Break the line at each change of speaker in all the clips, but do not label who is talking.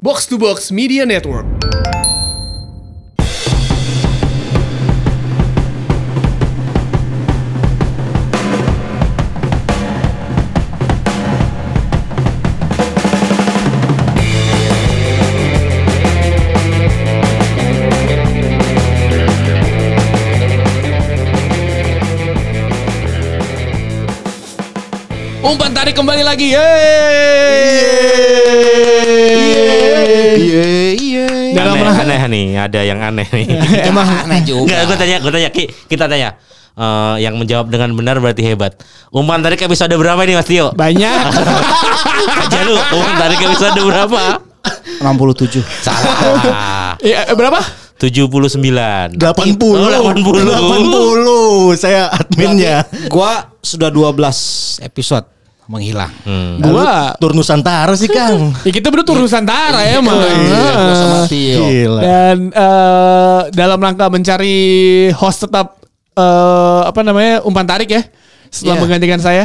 Box to Box Media Network.
Umpan tarik kembali lagi.
Iya,
Yeay.
Dalam
aneh, aneh nih, ada yang aneh nih.
Emang
Aneh Iya, juga.
Enggak, gue tanya, gue tanya, Ki, kita tanya. Eh, yang menjawab dengan benar berarti hebat. Umpan tarik episode berapa nih Mas Tio?
banyak
Aja lu, umpan tarik episode berapa?
67.
Salah.
ya, eh, berapa
79.
80
Oh, 80.
80 saya adminnya
Gua sudah 12 episode menghilang.
Hmm.
Gua-
Lalu tur Nusantara sih Kang
ya kita berdua tur Nusantara ya
Iya,
emang
Iya, Gua sama
Heeh.
Tio.
Gila
dan eh, dalam rangka mencari host tetap eh, apa namanya umpan tarik ya setelah
Iya.
menggantikan saya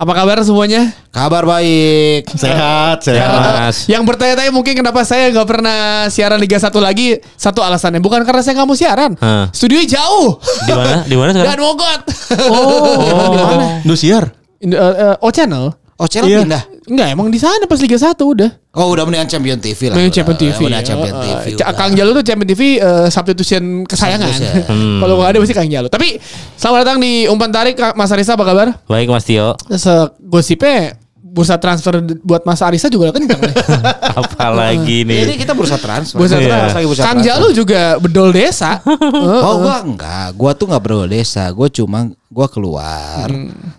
apa kabar semuanya
Kabar baik.
Sehat Sehat
Ya, Mas.
Ya.
yang bertanya-tanya mungkin kenapa saya nggak pernah siaran Liga 1 lagi satu alasannya bukan karena saya nggak mau siaran
Hah.
studionya jauh
Di mana? Di mana
dan
sekarang?
mogot
Oh.
Nusiar
In- eh, eh, O Channel
Oh, Cel
Iya.
pindah.
Enggak emang di sana pas Liga 1 udah
Oh, udah mendingan Champion TV lah.
Main Champion TV.
Udah Champion
Eh,
TV.
eh, Ca- Kang Jalu tuh Champion TV eh, substitution kesayangan.
Substitution.
Kalau nggak ada pasti Kang Jalu. Tapi selamat datang di umpan tarik Kak- Mas Arisa apa kabar?
Baik Mas Tio.
Segosipnya bursa transfer d- buat Mas Arisa juga kencang nih.
Apalagi
Ini
nih.
kita bursa transfer.
Bursa
Iya.
transfer.
Lagi bursa
Kang
transfer.
Jalu juga bedol desa. Heeh.
Oh gua enggak, gua tuh enggak berbeda desa, gua cuma gua keluar.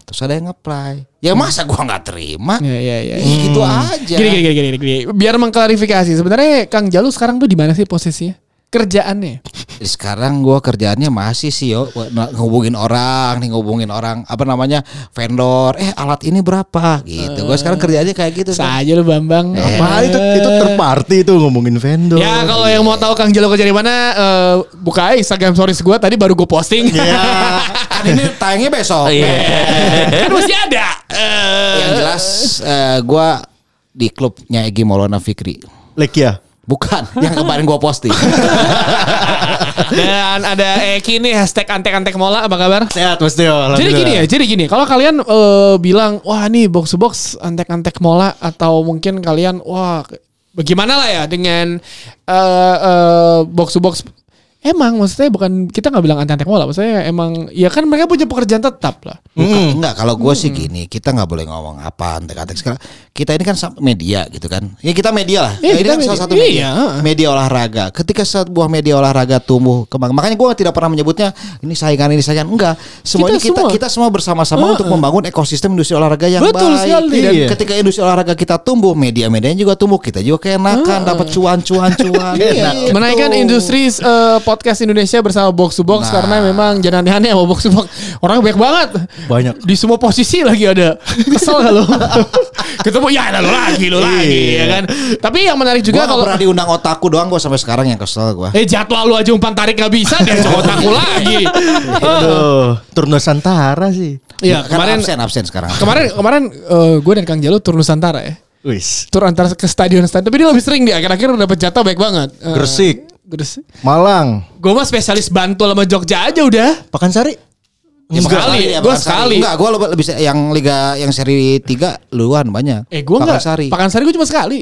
Terus ada yang apply. Ya masa gua enggak terima?
Hmm. Iya iya iya.
Ih, gitu aja.
Gini, gini, gini, gini, gini. Biar mengklarifikasi sebenarnya Kang Jalu sekarang tuh di mana sih posisinya? Kerjaannya.
Sekarang gua kerjaannya masih sih yo ngehubungin orang, nih ngehubungin orang apa namanya? vendor. Eh, alat ini berapa gitu.
Eh.
Gua sekarang kerjaannya kayak gitu. Eh. Kan.
Saja lu Bambang.
Apaan itu Itu terparty itu ngomongin vendor
Ya kalau yang mau tahu Kang Jelo kerja di mana eh, buka aja Instagram stories gue tadi baru gue posting.
Iya.
Kan ini tayangnya
Oh,
besok.
Iya.
kan masih ada. Eh,
Yang jelas eh, gua di klubnya Egi Maulana Fikri.
Lekia
Bukan yang kemarin gua posting.
Dan ada Eki nih hashtag antek-antek mola apa kabar?
Sehat Mas Tio
Jadi gini ya, jadi gini. Kalau kalian eh, bilang wah nih box to box antek-antek mola atau mungkin kalian wah bagaimana lah ya dengan eh, eh, box to box Emang maksudnya bukan kita nggak bilang antek-antek mola, maksudnya emang ya kan mereka punya pekerjaan tetap lah.
Bukan, Enggak, kalau gue sih gini, kita nggak boleh ngomong apa antek-antek segala. Kita ini kan sam- media gitu kan. Ya kita media lah.
Iya,
Ya, ini
kita
kan salah
media.
satu media.
Iya.
Media olahraga. Ketika sebuah media olahraga tumbuh kembang, makanya gue tidak pernah menyebutnya ini saingan ini saingan. Enggak, semuanya
Kita
kita
semua.
kita, semua bersama-sama untuk membangun ekosistem industri olahraga yang
Betul
baik.
sekali.
Dan
Iya.
ketika industri olahraga kita tumbuh, media-medianya juga tumbuh. Kita juga keenakan dapat cuan-cuan cuan. Enak gitu.
Iya. Nah, Menaikkan industri eh, podcast Indonesia bersama Box to Box
Nah.
karena memang jangan aneh-aneh sama Box to Box. Orang banyak banget.
Banyak.
Di semua posisi lagi ada. Kesel gak lo? Ketemu ya ada lo lagi lo lagi ya kan. Tapi yang menarik
Gue
juga kalau
pernah diundang otakku doang gue sampai sekarang yang kesel gue.
Eh jadwal lu aja umpan tarik gak bisa deh cowok aku lagi.
ya, Aduh Tur Nusantara sih
Iya
Kan
kemarin
absen absen sekarang.
kemarin kemarin gue dan Kang Jalu tur Nusantara ya.
Wis
Tur antara ke stadion stadion tapi dia lebih sering dia akhir-akhir dapat jatah baik banget. Eh,
Gresik
Gresik.
Malang
Gue mah spesialis Bantul sama Jogja aja udah.
Pakansari
Ya,
Enggak. Sekali,
Pakansari, ya,
gua
Pakansari.
sekali.
Enggak, gue lebih yang liga yang seri 3 luan banyak.
Eh gue nggak.
Pakansari.
Pakansari gue cuma sekali.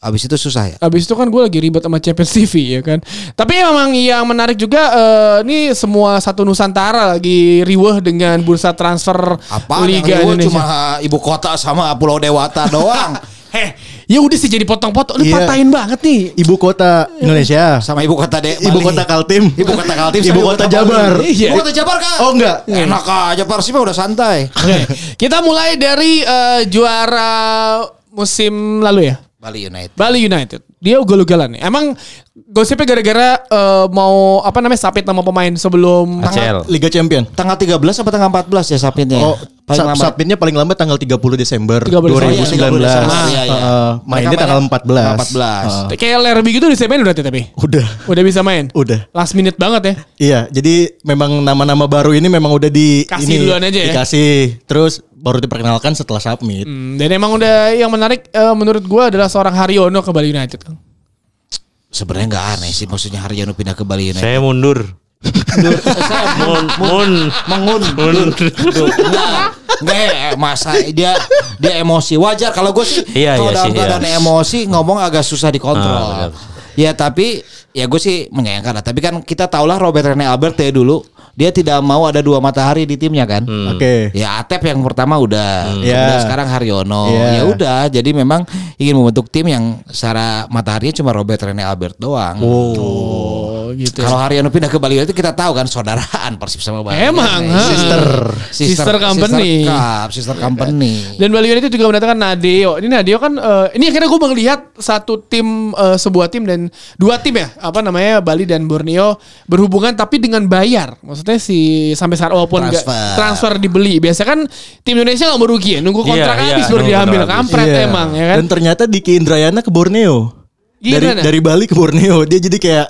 Abis itu susah ya.
Abis itu kan gue lagi ribet sama Champions TV ya kan. Tapi memang yang menarik juga eh, ini semua satu Nusantara lagi riweh dengan bursa transfer
Apa
Liga
yang gua
Indonesia.
cuma ibu kota sama Pulau Dewata doang.
Heh, ya udah sih jadi potong-potong. Lu
Iya.
patahin banget nih.
Ibu kota Indonesia
sama ibu kota de
Ibu
Bali.
kota Kaltim
Ibu kota Kaltim. sama
Ibu kota Jabar
Bali. Ibu kota Jabar kan?
Oh enggak
Enak aja Persib udah santai.
Oke, kita mulai dari eh, juara musim lalu ya.
Bali United.
Bali United. Dia ugal-ugalan. Emang gosipnya gara-gara eh, mau apa namanya sapit nama pemain sebelum
Acel.
Liga Champion
Tanggal 13 apa tanggal 14 ya sapinnya?
Oh,
paling
sub-
lambat.
submitnya paling lambat tanggal 30 Desember
30 Desember.
2019.
Iya, 30 Desember.
Heeh,
Iya, iya.
Eh, mainnya
Mereka
tanggal
mainnya 14.
14. Heeh.
kayak Lerby gitu disemain udah tapi.
udah.
Udah bisa main.
Udah.
Last minute banget ya.
Iya, jadi memang nama-nama baru ini memang udah di
Kasih
ini,
duluan aja ya?
Dikasih. Terus baru diperkenalkan setelah submit.
Hmm, dan emang udah yang menarik eh, menurut gua adalah seorang Haryono ke Bali United kan. Kang.
Sebenarnya nggak aneh sih maksudnya Haryono pindah ke Bali United.
Saya Nah, mundur. mun, mun,
Mengun.
mundur.
Nggak, eh, masa dia dia emosi. Wajar kalau gue sih
Iya,
kalau
iya
dalam
sih,
keadaan
iya.
emosi ngomong agak susah
Ah, benar.
dikontrol. ya tapi ya gue sih menyayangkan lah. Tapi kan kita tahulah Robert Rene Albert ya dulu dia tidak mau ada dua matahari di timnya kan.
Hmm.
Oke.
Ya Atep yang pertama udah,
Iya.
Udah sekarang Haryono. Ya
Iya.
udah, jadi memang ingin membentuk tim yang secara mataharinya cuma Robert Rene Albert doang.
Oh, gitu.
Kalau Haryono pindah ke Bali itu kita tahu kan saudaraan Persib sama Bali. Iya,
Emang, ha.
Sister.
Sister company. Iya.
Sister, cup, sister company.
Dan Bali United juga mendatangkan Nadeo. Ini Nadeo kan eh, ini akhirnya gue melihat satu tim eh, sebuah tim dan dua tim ya, apa namanya Bali dan Borneo berhubungan tapi dengan bayar. Maksudnya si sampai saat walaupun nggak-
Transfer.
transfer dibeli. Biasanya kan tim Indonesia nggak merugi ya, nunggu kontrak
Iya, iya,
habis baru
nunggu
diambil.
kontrak habis.
Kampret
Iya.
emang ya kan.
Dan ternyata Diki Indrayana ke Borneo.
Gimana?
Dari dari Bali ke Borneo. Dia jadi kayak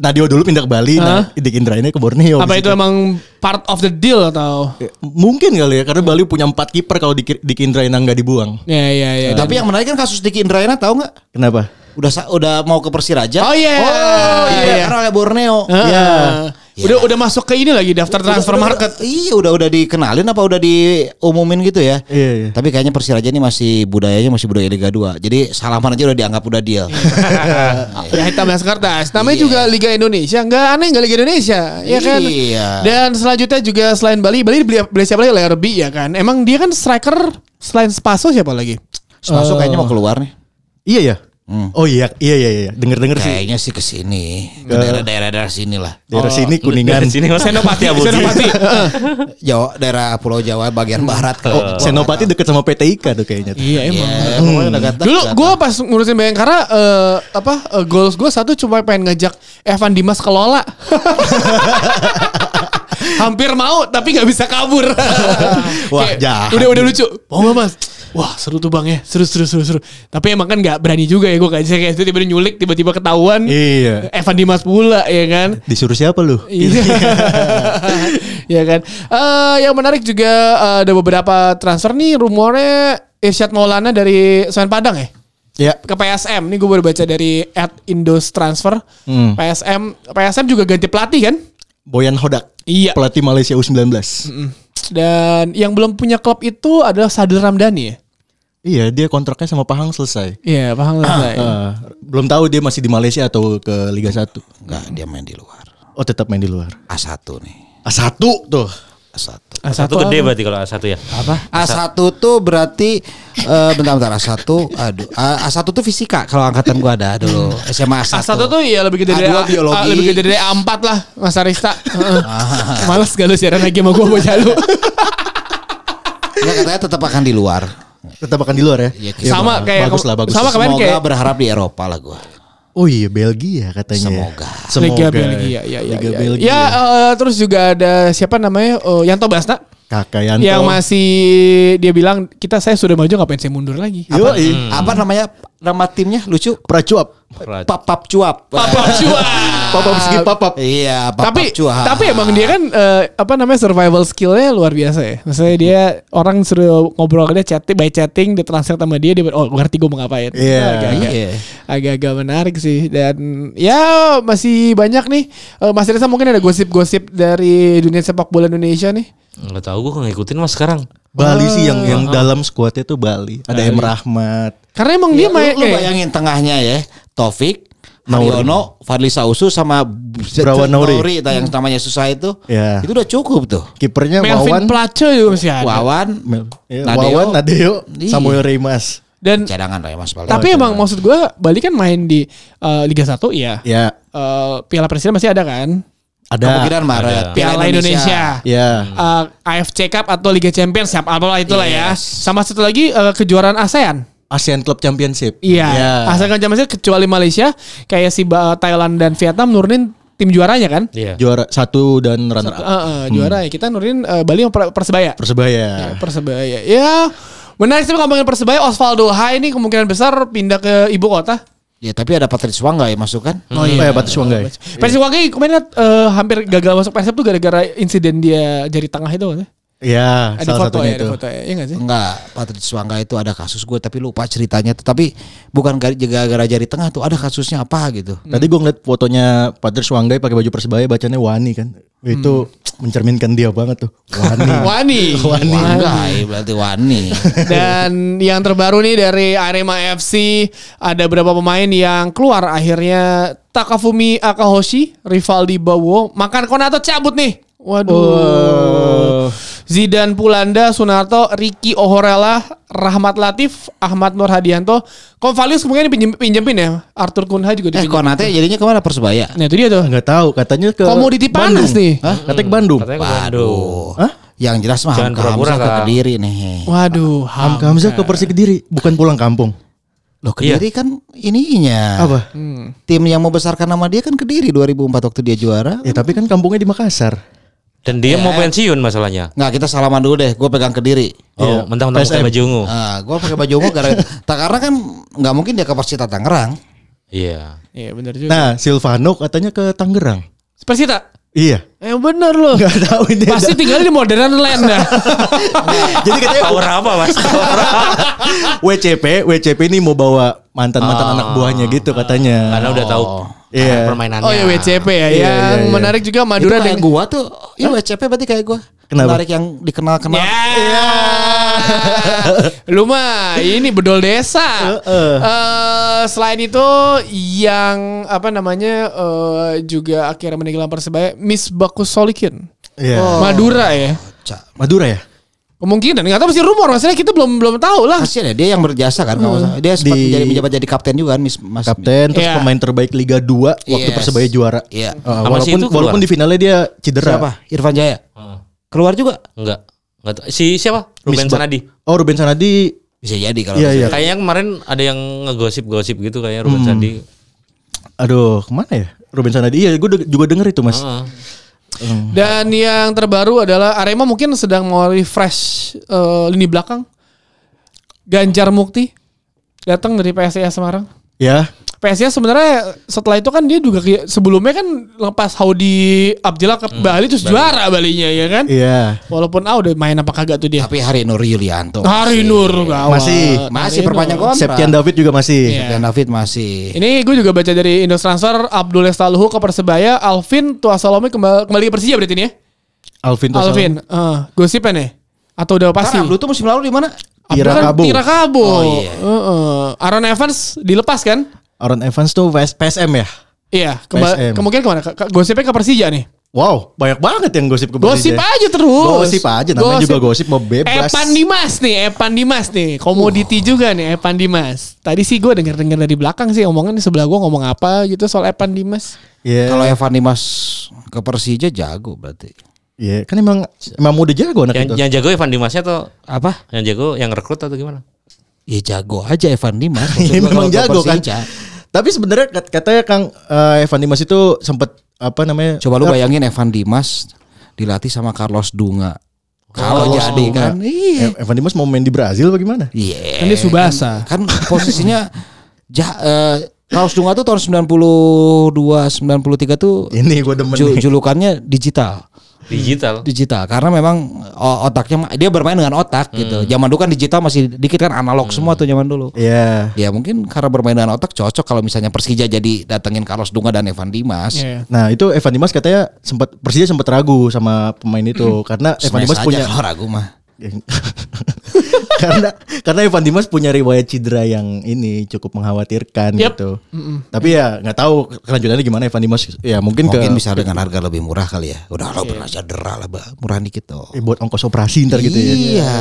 Nadio dulu pindah ke Bali, nah Diki Indrayana ke Borneo.
apa
Di
itu
situ.
emang part of the deal atau?
Mungkin kali ya karena Bali punya empat kiper kalau Diki, Diki Indrayana nggak dibuang.
Ya ya ya.
Tapi yang menarik kan kasus Diki Indrayana tahu nggak?
Kenapa?
Udah sa- udah mau ke Persiraja.
Oh, iya.
Oh iya.
Iya.
Karena oleh Borneo. Iya.
Ah.
Ya.
Udah udah masuk ke ini lagi daftar transfer
Udah- udah-
market.
Iya udah udah dikenalin apa udah diumumin gitu ya.
Iya, iya.
Tapi kayaknya Persiraja ini masih budayanya masih budaya Liga 2. Jadi salaman aja udah dianggap udah deal.
Ya hitam atas kertas. Namanya juga Liga Indonesia. Enggak aneh enggak Liga Indonesia, ya kan?
Iya.
Dan selanjutnya juga selain Bali, Bali beli, beli siapa lagi? Lerby ya kan. Emang dia kan striker selain Spaso siapa lagi?
Masuk kayaknya
Oh.
mau keluar nih.
Iya ya. Oh iya iya iya iya. Dengar-dengar sih.
Kayaknya sih ke sini, ke
Iya.
daerah-daerah daerah sini lah.
Oh,
Daerah sini Kuningan.
Dari sini mas. Senopati ya Senopati.
Jawa, daerah Pulau Jawa bagian barat
Oh,
kalau.
Senopati deket sama PT Ika tuh kayaknya. tuh.
Iya,
Iya, pokoknya dekat-dekat.
Dulu gue pas ngurusin Bayangkara eh, apa eh, goals gue satu cuma pengen ngajak Evan Dimas ke Lola. Hampir mau tapi nggak bisa kabur. Kayak,
Wah, jahat.
Udah udah lucu. Mau nggak mas? Wah seru tuh bang ya, seru seru seru seru. Tapi emang kan nggak berani juga ya gue kayak kayak itu tiba-tiba nyulik tiba-tiba ketahuan.
Iya.
Evan Dimas pula ya kan.
Disuruh siapa lu? Gitu.
Iya Iya kan. Eh yang menarik juga eh, ada beberapa transfer nih rumornya Irsyad Maulana dari Semen Padang ya
Ya.
ke PSM. Ini gue baru baca dari at Indos Transfer.
Hmm.
PSM PSM juga ganti pelatih kan?
Boyan Hodak.
Iya.
Pelatih Malaysia U19. Hmm.
Dan yang belum punya klub itu adalah Sadil Ramdhani ya.
Iya, dia kontraknya sama Pahang selesai.
Iya, paham lah saya.
Eh, belum tahu dia masih di Malaysia atau ke Liga 1.
Enggak, dia main di luar.
Oh, tetap main di luar.
A1 nih.
A1 tuh.
A1.
Ah,
Satu gede berarti kalau satu ya.
Apa? A1 tuh berarti eh bentar bentar A1 aduh A- A1 tuh fisika kalau angkatan gua ada dulu SMA A1.
A1 tuh ya lebih gede dari
A2 biologi.
A- lebih gede dari A4 lah Mas Arista. Heeh. Males gak lu siaran Ah. lagi sama gue bocah lu.
Enggak katanya tetap akan di luar.
Tetap akan di luar ya?
Iya,
Ya,
Sama
ba-
kayak-
bagus lah bagus.
sama- kemarin
Semoga
kayak-
berharap di Eropa lah gua.
Oh iya, Belgia katanya.
Semoga.
Semoga.
Liga Belgia, ya, ya,
Liga
ya.
Belgia.
Ya, eh, terus juga ada siapa namanya Eh, Yanto Basna
Kakak Yanto.
yang masih dia bilang kita saya sudah maju ngapain saya mundur lagi.
Yo,
Apa, apa namanya nama timnya lucu?
Pracuap.
Papap cuap.
Papap cuap.
Papap segi papap.
Iya, papap
tapi
cuap.
tapi emang dia kan eh, apa namanya survival skillnya luar biasa ya. Maksudnya dia orang suruh ngobrol ke dia chatting by chatting dia transfer sama dia dia ber- oh ngerti gue mau ngapain.
Iya.
Agak-agak-
Iya.
Agak-agak menarik sih dan ya masih banyak nih Eh, Mas Reza mungkin ada gosip-gosip dari dunia sepak bola Indonesia nih.
Enggak tahu gue ngikutin mas sekarang.
Bali sih yang yang dalam skuadnya tuh Ah. Bali. Ada M Rahmat.
Karena emang dia
Iya,
main
lu, lu
eh,
bayangin tengahnya ya Taufik Haryono Fadli Sausu sama
Brawan Nauri.
tah, yang namanya susah itu
Ya.
itu udah cukup tuh
Kipernya
Melvin
Wawan.
Place juga masih ada.
Wawan
Mel- ya,
Nadeo.
Wawan, Nadeo,
Iya.
Samuel Reimas.
Dan
cadangan lah ya Mas Baldo.
tapi emang maksud gue Bali kan main di eh, Liga 1 iya.
Ya,
Eh, Piala Presiden masih ada kan?
ada.
kemungkinan Maret
Ada.
Piala Indonesia.
Ya.
Eh, AFC Cup atau Liga Champions siap apalah itulah ya. Sama satu lagi eh, kejuaraan ASEAN.
ASEAN Club Championship.
Iya.
Ya.
ASEAN kan masih kecuali Malaysia kayak si Ba- eh, Thailand dan Vietnam nurunin tim juaranya kan?
Iya.
Juara satu dan runner
Eh,
up.
eh, juara ya. Kita nurunin eh, Bali sama Per- Persebaya.
hmm. Persebaya.
Persebaya. Ya, menarik sih ngomongin Persebaya Osvaldo Hai ini kemungkinan besar pindah ke ibu kota.
ya tapi ada Patrick Suang nggak ya masuk kan
Oh iya, Batu Suanggai.
Persib Wage kemarin eh, hampir gagal masuk Persib tuh gara-gara insiden dia jari tengah itu kan.
Ya,
Ada
salah
foto
satunya
ya, ada
itu.
foto ya. Iya nggak sih?
Enggak, Patrick Suangga itu ada kasus gue tapi lupa ceritanya tuh. Tapi bukan gara- gara-gara jari tengah tuh ada kasusnya apa gitu.
Hmm.
Tadi gue ngeliat fotonya Patrick Wanggai pakai baju persebaya bacanya Wani kan. Itu
Hmm.
mencerminkan dia banget tuh. Wani.
Wani.
Wani.
Wanggai eh, berarti Wani.
Dan yang terbaru nih dari Arema FC ada beberapa pemain yang keluar akhirnya Takafumi Akahoshi, Rivaldi Bawo, Makan Konato cabut nih. Waduh. Zidane Pulanda, Sunarto, Ricky Ohorela, Rahmat Latif, Ahmad Nur Hadianto, Konvalius kemungkinan dipinjem, pinjemin ya. Arthur Kunha juga
eh
dipinjemin.
Konate jadinya kemana Persebaya?
Nah itu dia tuh.
Ah, Nggak tahu katanya ke
Komoditi panas
Bandung.
nih. Hmm.
Hah? Katanya ke Bandung.
Katanya ke Bandung.
Waduh.
Hah?
Yang jelas mah
Jangan
Hamka
pura-pura,
Hamzah ke
Kak.
Kediri nih.
Waduh,
Ham
Ah, ham.
Hamzah ke Persik Kediri, bukan pulang kampung.
Loh
Iya.
Kediri kan
Nah.
ininya.
Apa?
Hmm.
Tim yang membesarkan nama dia kan Kediri 2004 waktu dia juara.
Ya tapi kan kampungnya di Makassar.
Dan dia mau pensiun masalahnya.
Nggak kita salaman dulu deh. Gue pegang Kediri.
Oh, mentang-mentang pakai
PSM.
baju ungu.
Nah, gue pakai baju ungu karena tak karena kan nggak mungkin dia ke Persita Tangerang.
Iya.
Iya benar juga.
Nah, Silvano katanya ke Tangerang.
Persita.
Iya.
Eh benar loh.
Gak tahu ini.
Pasti tinggal di modern land dah.
Jadi katanya
Power apa, Mas?
WCP, WCP ini mau bawa
Oh.
mantan-mantan anak buahnya gitu katanya.
Karena udah tahu
Iya.
Oh. permainannya.
Oh ya WCP ya.
Iya,
yang
iya, iya.
menarik juga
Itu
Madura
kayak
dengan
gue tuh. Iya WCP berarti kayak gue.
Kenapa?
Menarik yang dikenal-kenal.
Ya.
Iya.
Lu mah ini bedol desa.
Heeh.
Eh, selain itu yang apa namanya eh, juga akhirnya meninggal persebaya Miss Bakus Solikin.
Iya.
Madura ya.
Ca-
Madura ya?
Kemungkinan nggak tahu sih rumor maksudnya kita belum belum tahu lah.
Kasian ya dia yang berjasa kan. kalau nggak salah. Dia sempat
Hmm. Di-
jadi menjabat jadi kapten juga kan, Miss Mas.
Kapten terus
Iya.
pemain terbaik Liga 2 waktu
Yes.
Persebaya juara.
Iya.
Eh,
Sama si
walaupun
itu keluar.
walaupun di finalnya dia cedera.
Siapa? Irfan Jaya. Keluar juga.
Enggak. Enggak Hmm. tahu. Si siapa? Ruben
Misbah.
Sanadi.
Oh, Ruben Sanadi.
Bisa jadi kalau.
Iya, iya.
Kayaknya kemarin ada yang ngegosip-gosip gitu kayaknya Ruben Sanadi.
Aduh, kemana ya? Ruben Sanadi. Iya, gue juga denger itu, Mas.
Heeh.
Dan yang terbaru adalah Arema mungkin sedang mau refresh eh, lini belakang. Ganjar Mukti datang dari PSIS Semarang.
Ya.
PSIS sebenarnya setelah itu kan dia juga kayak- sebelumnya kan lepas Haudi Abdillah ke
Hmm,
Bali terus juara Balinya ya kan.
Iya.
Walaupun ah udah main apa kagak tuh dia.
Tapi Hari Nur Yulianto.
Hari
iya.
Nur gawat.
Masih. Iya.
Masih
Hari
perpanjang
Nur.
kontrak.
Septian David juga masih.
Dan David masih.
Ini gue juga baca dari Indos Transfer Abdul Lestaluhu ke Persebaya, Alvin Tuasalome kembali, kembali ke Persija berarti ini ya.
Alvin Tosal-
Alvin, eh, gosipnya nih atau udah pasti?
Kan Abdul tuh musim lalu di mana?
Abdul
Tira
kan
Kabo.
Tira Kabo.
Oh, iya.
Heeh. Aaron Evans dilepas kan?
Aaron Evans tuh PS- PSM ya?
Iya, kemba-
PSM.
kemungkinan kemana? Ke- ke- gosipnya ke Persija nih.
Wow, banyak banget yang gosip ke ya.
Gosip
Persija.
aja terus.
Gosip aja, namanya juga gosip, mau bebas.
Epan Dimas nih, Epan Dimas nih. Komoditi juga nih Epan Dimas. Tadi sih gue denger-denger dari belakang sih omongan di sebelah gue ngomong apa gitu soal Epan Dimas.
Eh,
Iya.
Kalau Evan Dimas ke Persija jago berarti.
Iya, kan emang emang udah jago anak
Yang,
itu.
yang jago Evan Dimasnya atau
Apa?
yang jago yang rekrut atau gimana?
Ya jago aja Evan Dimas. Maksud
Iya,
gua
memang
kalau ke
jago kan.
Persija.
Tapi sebenarnya kat- katanya Kang eh, Evan Dimas itu sempet apa namanya?
Coba lu bayangin Evan Dimas dilatih sama Carlos Dunga. Kalau
Carlos
jadi
Dunga.
kan. Iya.
Eh, Evan Dimas mau main di Brazil bagaimana?
Iya.
Kan dia Subasa.
Kan posisinya ja, eh, Carlos Dunga tuh tahun 92 93 tuh
Ini gue demen
ju-
nih.
julukannya digital.
Digital.
Hmm.
Digital karena memang o- otaknya dia bermain dengan otak gitu. Zaman dulu kan digital masih dikit kan analog semua tuh zaman dulu.
Iya.
Ya mungkin karena bermain dengan otak cocok kalau misalnya Persija jadi datengin Carlos Dunga dan Evan Dimas.
Iya.
Nah itu Evan Dimas katanya sempat Persija sempat ragu sama pemain itu karena Evan
Hmm. Smash
Dimas
aja
punya
kalau ragu mah.
karena karena Evan Dimas punya riwayat cedera yang ini cukup mengkhawatirkan
Yap.
gitu. Tapi ya nggak tahu kelanjutannya gimana Evan Dimas ya mungkin,
Mungkin
ke
bisa dengan harga lebih murah kali ya. Udah lo pernah cedera lah, Bah. murahan dikit dong.
eh, buat ongkos operasi ntar gitu ya.
Iya.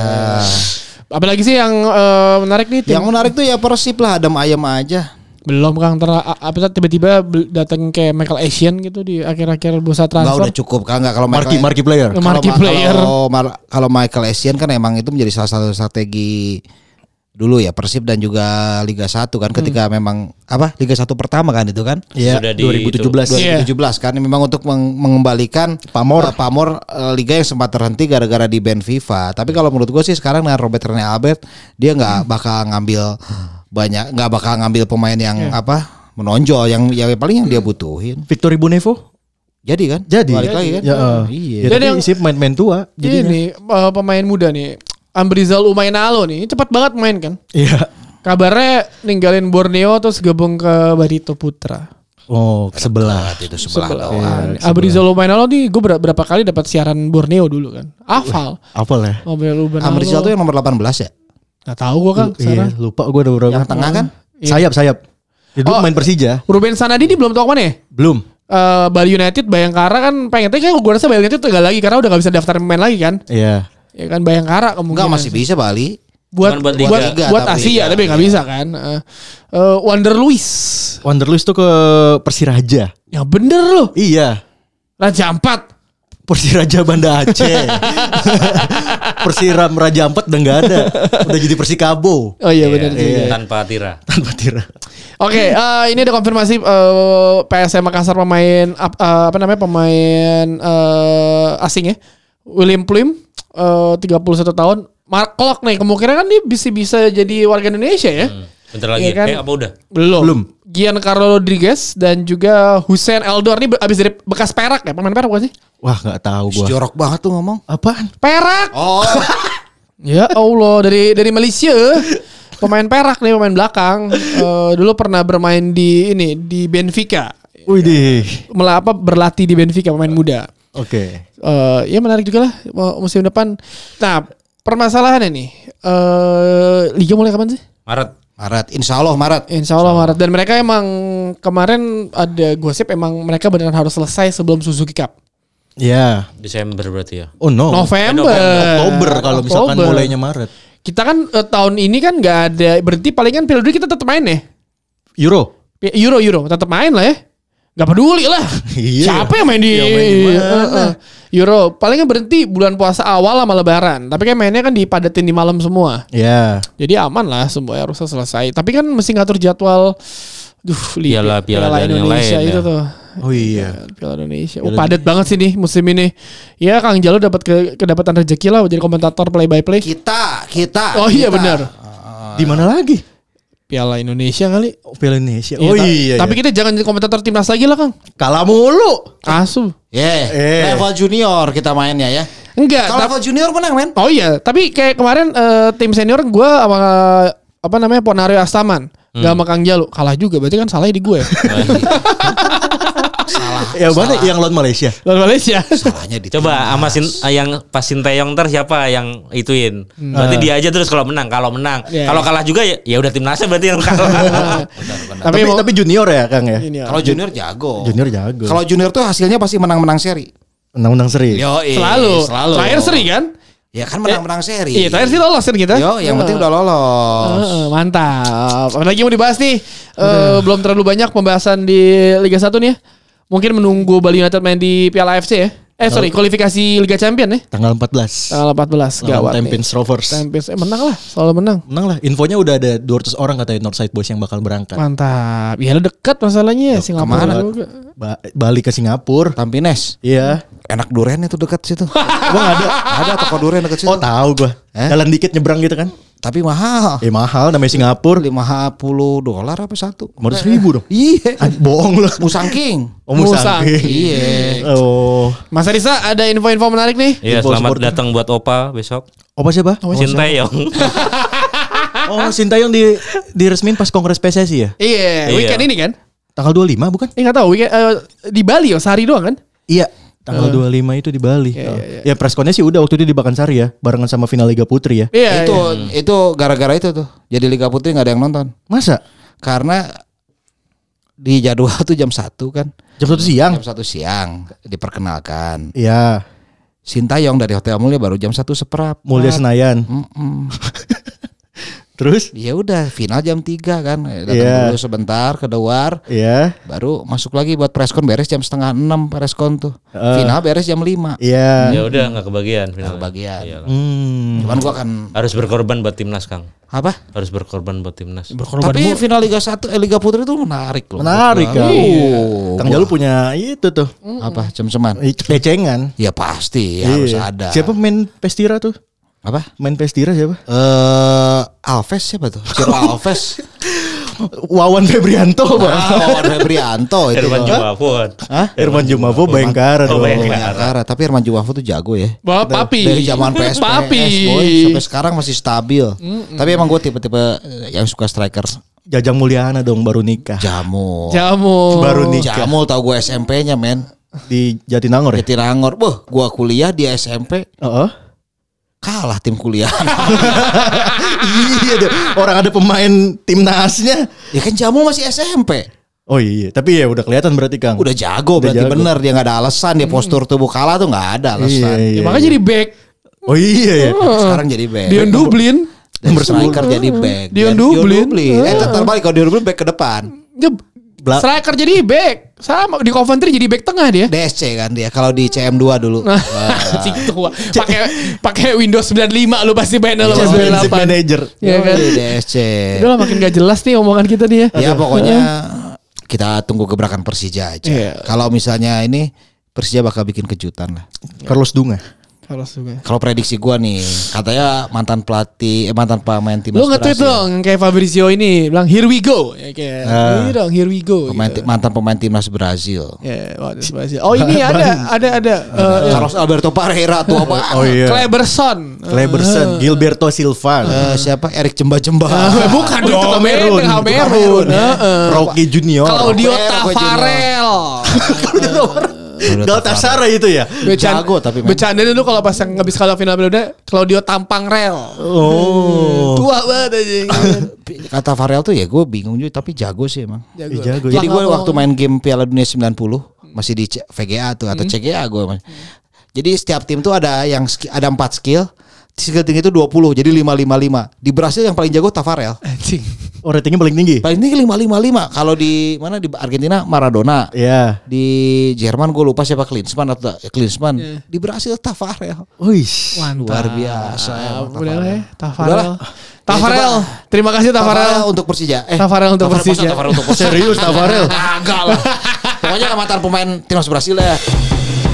Apalagi sih yang eh, menarik nih tim
Yang menarik tuh ya Persib lah, adem ayam aja.
belum kang ter a- apa tuh tiba-tiba bel- datang kayak Michael Asian gitu di akhir-akhir bursa
Enggak
transfer.
udah cukup kan enggak kalau
Marki
Michael-
Marki player.
Yang
kalau
marquee
Ma-
player.
Kalau, Mar- kalau Michael Essien kan emang itu menjadi salah satu strategi dulu ya Persib dan juga Liga 1 kan ketika memang apa Liga 1 pertama kan itu kan.
Hmm. Iya.
Sudah di
2017.
Iya.
2017 kan memang untuk meng- mengembalikan
Pamor.
eh, Pamor eh, liga yang sempat terhenti gara-gara di ban FIFA. Tapi kalau menurut gue sih sekarang dengan Robert Rene Albert dia
Hmm.
nggak bakal ngambil banyak nggak ya
Iya.
bakal ngambil pemain yang apa menonjol yang yang paling yang dia butuhin.
Victor Ibunevo
Jadi kan?
Jadi.
Balik lagi kan?
Ya, eh.
Iya.
Ya,
Jadi
tapi
yang-
isi main-main tua
Jadi
jadinya.
nih eh, pemain muda nih Ambrizal Umainalo nih cepat banget main kan.
Iya.
Kabarnya ninggalin Borneo terus gabung ke Barito Putra.
Oh, ke sebelah.
Itu sebelah.
Sebelah.
doang.
Abrizal Abrizal Umainalo nih gue ber- berapa kali dapat siaran Borneo dulu kan. Hafal.
Apel ya?
Abrizal Umainalo.
Amrizal tuh yang nomor 18
Iya,
ya?
Nggak tahu gue kan.
Iya,
sekarang.
lupa gue ada berapa.
Yang tengah kan?
Sayap, sayap. Itu
Oh.
main Persija.
Ruben Sanadi ini belum tahu kemana ya?
Belum.
Eh, Bali United Bayangkara kan pengen kayak gue rasa Bali United tegak lagi karena udah gak bisa daftar pemain lagi kan
Iya.
ya kan Bayangkara kemungkinan
Enggak masih bisa Bali.
buat
Cuman
buat
buat
buat,
liga.
Tapi,
Asia
ya,
tapi nggak
iya.
bisa kan Eh, eh, Wander Luis
Wanderlust tuh ke Persiraja.
ya bener loh
Iya.
Raja Ampat
Persiraja Banda Aceh. Persiram Raja Ampat udah nggak ada. Udah jadi Persikabo.
oh iya bener
iya.
juga
tanpa tira.
Tanpa tira.
oke eh, ini ada konfirmasi eh, PSM Makassar pemain ap- eh, apa namanya pemain eh, asing ya William Plim eh, 31 tahun Mark Klok nih kemungkinan kan dia bisa bisa jadi warga Indonesia ya
Bentar lagi.
Iya kan?
Eh apa udah?
Belum.
Belum.
Giancarlo Rodriguez dan juga Hussein Eldor ini be- abis dari bekas perak ya pemain perak bukan sih?
Wah nggak tahu gua.
Jorok banget tuh ngomong.
Apaan?
Perak.
Oh,
Ya Allah dari dari Malaysia pemain perak nih pemain belakang Eh, dulu pernah bermain di ini di Benfica
Wih deh.
Mela- apa berlatih di Benfica pemain muda.
Oke.
Eh, ya menarik juga lah mu- musim depan. Nah permasalahannya nih eh liga mulai kapan sih?
Maret.
Maret. Insya Allah Maret.
Insya Allah Maret dan mereka emang kemarin ada gosip emang mereka beneran harus selesai sebelum Suzuki Cup.
Ya.
Desember berarti ya.
Oh no.
November,
Oktober kalau misalkan
Oktober.
mulainya Maret.
Kita kan eh, tahun ini kan nggak ada berhenti paling kan Piala Dunia kita tetap main ya.
Euro.
Pi- Euro Euro tetap main lah ya. Gak peduli lah.
Iya.
Siapa yang main di,
Yang main di mana?
Eh, eh. Euro? Paling kan berhenti bulan puasa awal sama lebaran. Tapi kan mainnya kan dipadatin di malam semua.
Ya.
Jadi aman lah semuanya harusnya selesai. Tapi kan mesti ngatur jadwal duh liga-
Piala- piala dan yang
Indonesia
lain
itu
ya.
tuh.
Oh iya.
Piala Indonesia. Oh, padat banget sih nih musim ini. Ya Kang Jalo dapat ke, kedapatan rezeki lah jadi komentator play by play.
Kita, kita.
Oh iya
kita.
benar. Ah,
Di mana lagi?
Piala Indonesia kali.
Oh, Piala Indonesia.
Iya,
Oh
ta-
iya.
Tapi kita jangan jadi komentator timnas lagi lah Kang.
kalah mulu.
Asu.
Yeah.
Eh.
Level junior kita mainnya ya.
Enggak.
Kalau
tap-
level junior menang men.
oh iya. Tapi kayak kemarin eh, tim senior gue sama apa namanya Ponario Astaman. Gak sama Kang Jalo kalah juga berarti kan salahnya di gue.
Ya mana yang lawan Malaysia?
Lawan Malaysia.
Salahnya di
Coba sama sin, eh, yang pas Sinteyong ter siapa yang ituin. Berarti dia aja terus kalau menang, kalau menang.
Hmm. Nah. Iya.
Kalau kalah juga ya ya udah timnasnya berarti yang kalah.
tapi,
Tapi,
mau,
tapi junior ya Kang ya?
ini ya.
Kalau junior jago.
Junior jago. Iya.
Kalau junior tuh hasilnya pasti menang-menang seri.
Undang-undang seri.
Yo,
selalu. Terakhir seri kan?
Ya kan menang-menang seri.
Iya, terakhir sih lolos kan kita.
Yo, yang penting udah lolos.
Heeh, mantap. Apa lagi yang mau dibahas nih? Eh, belum terlalu banyak pembahasan di Liga 1 nih ya. Mungkin menunggu Bali United main di Piala AFC ya. Eh sorry, kualifikasi Liga Champion ya.
Tanggal 14.
Tanggal 14
Lawan
gawat
Tampines
nih.
Rovers.
Tampines eh, menang lah, selalu menang.
Menang lah. Infonya udah ada 200 orang katanya Northside Boys yang bakal berangkat.
Mantap. Ya lu dekat masalahnya Singapura
kemana?
juga.
Ba- balik ke
Eh.
Singapura.
Tampines.
Iya.
Enak duren itu dekat situ. Emang ada ada toko duren dekat situ.
Oh tahu gua.
Eh? Ah.
Jalan dikit nyebrang gitu kan?
Tapi mahal.
Eh mahal namanya Singapura.
50 dolar apa satu?
500 ribu dong.
Iya.
Ah, bohong lu.
Musang King.
Oh,
Musang.
Musang.
Iya.
Oh.
Mas Arisa ada info-info menarik nih.
Iya,
Info
selamat
supporter.
datang buat Opa besok.
Apa siapa?
Sinteyong.
Oh, Sintayong di diresmin pas Kongres PSSI ya?
Iya,
Iya.
weekend ini kan?
Tanggal 25 bukan?
Eh enggak tahu weekend eh, di Bali ya, sehari doang kan?
Iya. Tanggal 25 itu di Bali.
Iya, iya,
Ya preskonnya sih udah waktu itu di Bakansari ya, barengan sama final Liga Putri ya.
Iya.
itu
iya.
itu gara-gara itu tuh. Jadi Liga Putri nggak ada yang nonton.
Masa?
Karena di jadwal tuh jam 1 kan.
Jam 1 siang.
Jam 1 siang diperkenalkan.
Iya,
Sintayong dari Hotel Mulia baru jam 1 seperap.
Mulia Senayan.
Mm-mm.
Terus?
Ya udah final jam 3 kan. Eh, Datang
Iya.
dulu sebentar keluar
Iya.
baru masuk lagi buat preskon beres jam setengah 6 preskon tuh.
Eh.
Final beres jam 5.
Iya.
Ya udah nggak kebagian
Nggak
final.
kebagian.
Iyalah.
Hmm.
Cuman gua akan
Harus berkorban buat timnas, Kang.
apa?
Harus berkorban buat timnas.
Tapi final Liga 1 eh, Liga Putri itu menarik loh.
Menarik
Menurut
kan?
gua.
Kang Jalu punya itu tuh.
Wah, apa cem-ceman?
eh, Pecengan.
Ya pasti ya
Iya.
harus ada.
Siapa main Pestira tuh?
Apa?
Main Pestira siapa?
Eh Alves siapa tuh? Ciro Alves.
Wawan Febrianto, Bang.
Wawan Febrianto itu.
Irfan
Bang.
Jumafut.
Hah?
Irfan Jumafo Bayangkara
Oh,
dong.
Bayangkara.
Bayangkara, tapi Herman Juwafo tuh jago ya.
Bapak papi.
Dari zaman PSPS
Papi.
boy, sampai sekarang masih stabil. Tapi emang gue tipe-tipe eh, yang suka striker
Jajang Mulyana dong baru nikah
Jamu.
iya. Jamu.
Baru nih. nikah.
Jamu tau gue SMP-nya men.
di Jatinangor ya.
Jatinangor, boh, gue kuliah di SMP
Heeh.
kalah tim kuliah.
iya deh. Orang ada pemain timnasnya.
ya kan Jamu masih SMP.
Oh iya, tapi ya udah kelihatan berarti Kang.
Udah jago berarti
jago.
bener dia nggak ada alasan
Hmm.
dia postur tubuh kalah tuh nggak ada
Iya,
alasan.
iya.
Ya, makanya jadi back.
Oh iya ya.
Hmm.
Sekarang jadi back.
Dion Dublin.
Dari striker jadi back.
Dion
Dan
Dublin.
Eh
Hmm.
tetap balik kalau Dion Dublin back ke depan.
Dia
Bla-
striker jadi back. Sama di Coventry jadi back tengah dia.
DSC kan dia kalau di CM2 dulu.
Nah.
Wah.
Cing tua. Pakai pakai Windows 95 lu pasti main lo
Championship
98.
manager.
Iya kan?
Di DSC.
Udah lah makin gak jelas nih omongan kita nih ya.
Ya pokoknya kita tunggu gebrakan Persija aja.
Iya.
Kalau misalnya ini Persija bakal bikin kejutan lah.
Carlos Dunga.
Harus juga.
Kalau prediksi gua nih, katanya mantan pelatih eh, mantan pemain timnas
Lu nge-tweet
Brasil.
dong kayak Fabrizio ini bilang here we go. Ya kayak ini dong here we go.
Pemain ti-
gitu.
mantan pemain timnas Brazil.
Ya, wah, ada Fabrizio. Oh ini ada ada ada eh,
Carlos Alberto Pereira tuh apa?
Oh iya.
Kleberson.
Kleberson, Gilberto Silva,
Eh, siapa? Erik Jemba-Jemba.
Eh, bukan
itu
Oh,
dong,
Kamerun.
Kamerun. Kamerun. Heeh.
Rocky Junior,
Claudio
Roberto
Tafarel.
Galatasaray itu ya.
Becan-
Jago tapi memang.
Bercanda dulu kalau pas yang habis kalah final Belanda, Claudio Tampang Rel.
Oh.
Tua banget aja.
Kata Farel tuh ya gue bingung juga tapi jago sih emang.
Ih, jago.
Jadi gue waktu main game Piala Dunia 90 masih di C- VGA tuh atau CGA gue. Mas. Jadi setiap tim tuh ada yang ski- ada 4 skill. Skill tinggi itu 20 jadi 555. Di Brasil yang paling jago Tafarel.
Anjing.
Oh ratingnya paling tinggi.
Paling tinggi 555. Kalau di mana di Argentina Maradona.
Ya.
Di Jerman gue lupa siapa Klinsmann atau eh, Klinsmann. Di Brasil Tafarel.
Wih.
Luar biasa emang
Udah lah ya,
Udah
Tafarel.
lah.
Tafarel,
Ya,
terima kasih
Tafarel
Tafarel.
untuk Persija. Eh,
Tafarel untuk
masa
Persija.
Tafarel untuk Persija.
Serius Tafarel.
Agak lah. Pokoknya mantan pemain timnas Brasil ya.